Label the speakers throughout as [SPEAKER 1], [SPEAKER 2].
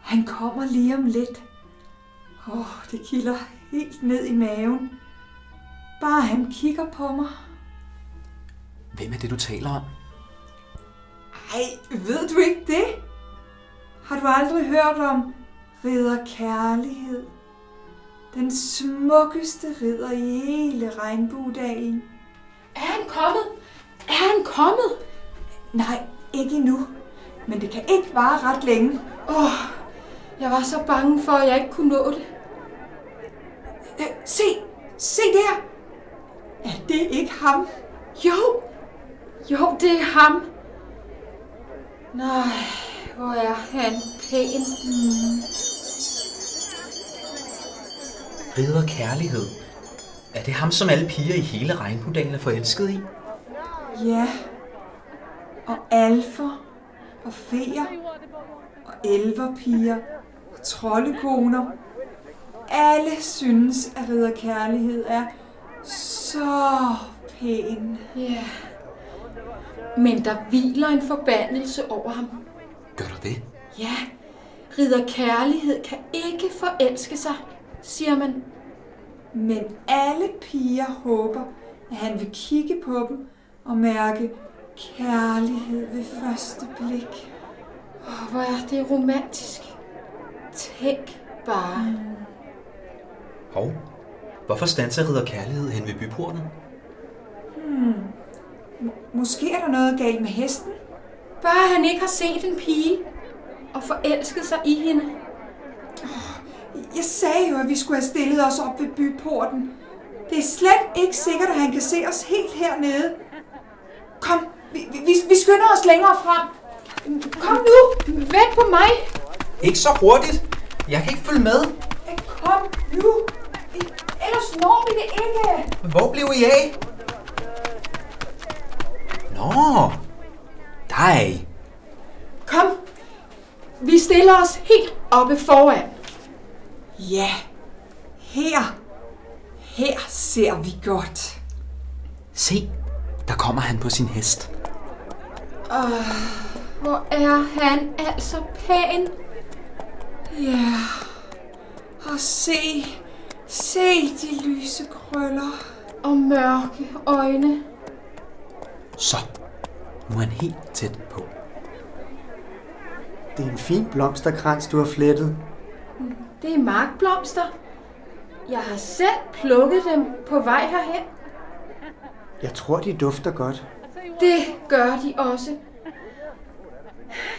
[SPEAKER 1] Han kommer lige om lidt. Åh, oh, det kilder helt ned i maven. Bare han kigger på mig.
[SPEAKER 2] Hvem er det, du taler om?
[SPEAKER 1] Ej, ved du ikke det? Har du aldrig hørt om ridder kærlighed? Den smukkeste ridder i hele regnbuedalen.
[SPEAKER 3] Er han kommet? Er han kommet?
[SPEAKER 1] Nej, ikke endnu. Men det kan ikke vare ret længe.
[SPEAKER 3] Åh, oh, jeg var så bange for, at jeg ikke kunne nå det.
[SPEAKER 1] Øh, se, se der. Er det ikke ham?
[SPEAKER 3] Jo, jo, det er ham. Nej, hvor er han pæn. Mm.
[SPEAKER 2] Ridder kærlighed. Er det ham, som alle piger i hele regnbudalen er forelsket i?
[SPEAKER 1] Ja, og alfer, og feer, og elverpiger, og troldekoner. Alle synes, at ridder kærlighed er så pæn.
[SPEAKER 3] Ja, men der hviler en forbandelse over ham.
[SPEAKER 2] Gør der det?
[SPEAKER 3] Ja, ridder kærlighed kan ikke forelske sig, siger man.
[SPEAKER 1] Men alle piger håber, at han vil kigge på dem og mærke kærlighed ved første blik.
[SPEAKER 3] Oh, hvor er det romantisk. Tænk bare. Mm.
[SPEAKER 2] Hov, hvorfor standser ridder kærlighed hen ved byporten?
[SPEAKER 1] Hmm. M- måske er der noget galt med hesten?
[SPEAKER 3] Bare han ikke har set en pige og forelsket sig i hende.
[SPEAKER 1] Jeg sagde jo, at vi skulle have stillet os op ved byporten. Det er slet ikke sikkert, at han kan se os helt hernede. Kom, vi, vi, vi skynder os længere frem.
[SPEAKER 3] Kom nu, vent på mig.
[SPEAKER 2] Ikke så hurtigt. Jeg kan ikke følge med.
[SPEAKER 1] Kom nu. Ellers når vi det ikke.
[SPEAKER 2] Hvor blev I af? Nå, dig.
[SPEAKER 3] Kom, vi stiller os helt oppe foran.
[SPEAKER 1] Ja, her. Her ser vi godt.
[SPEAKER 2] Se, der kommer han på sin hest.
[SPEAKER 3] Åh, hvor er han altså pæn.
[SPEAKER 1] Ja, og se, se de lyse krøller.
[SPEAKER 3] Og mørke øjne.
[SPEAKER 2] Så, nu er han helt tæt på.
[SPEAKER 4] Det er en fin blomsterkrans, du har flettet.
[SPEAKER 3] Det er markblomster. Jeg har selv plukket dem på vej herhen.
[SPEAKER 4] Jeg tror, de dufter godt.
[SPEAKER 3] Det gør de også.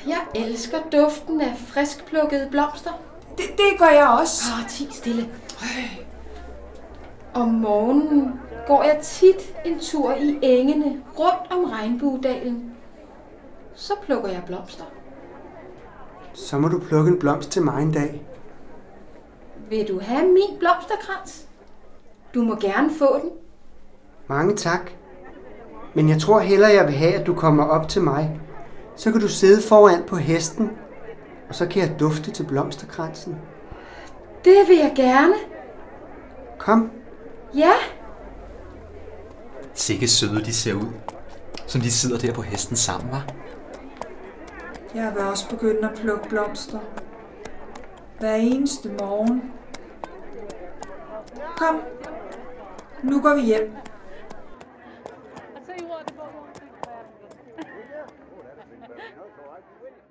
[SPEAKER 3] Jeg elsker duften af friskplukkede blomster.
[SPEAKER 1] Det, det gør jeg også.
[SPEAKER 3] Åh, ti stille. Om morgenen går jeg tit en tur i engene rundt om regnbuedalen. Så plukker jeg blomster.
[SPEAKER 4] Så må du plukke en blomst til mig en dag.
[SPEAKER 3] Vil du have min blomsterkrans? Du må gerne få den.
[SPEAKER 4] Mange tak. Men jeg tror hellere, jeg vil have, at du kommer op til mig. Så kan du sidde foran på hesten, og så kan jeg dufte til blomsterkransen.
[SPEAKER 3] Det vil jeg gerne.
[SPEAKER 4] Kom.
[SPEAKER 3] Ja,
[SPEAKER 2] Sikke søde de ser ud. Som de sidder der på hesten sammen, var.
[SPEAKER 1] Jeg vil også begynde at plukke blomster. Hver eneste morgen. Kom, nu går vi hjem.
[SPEAKER 5] I tell you what, the boat won't think bad of it.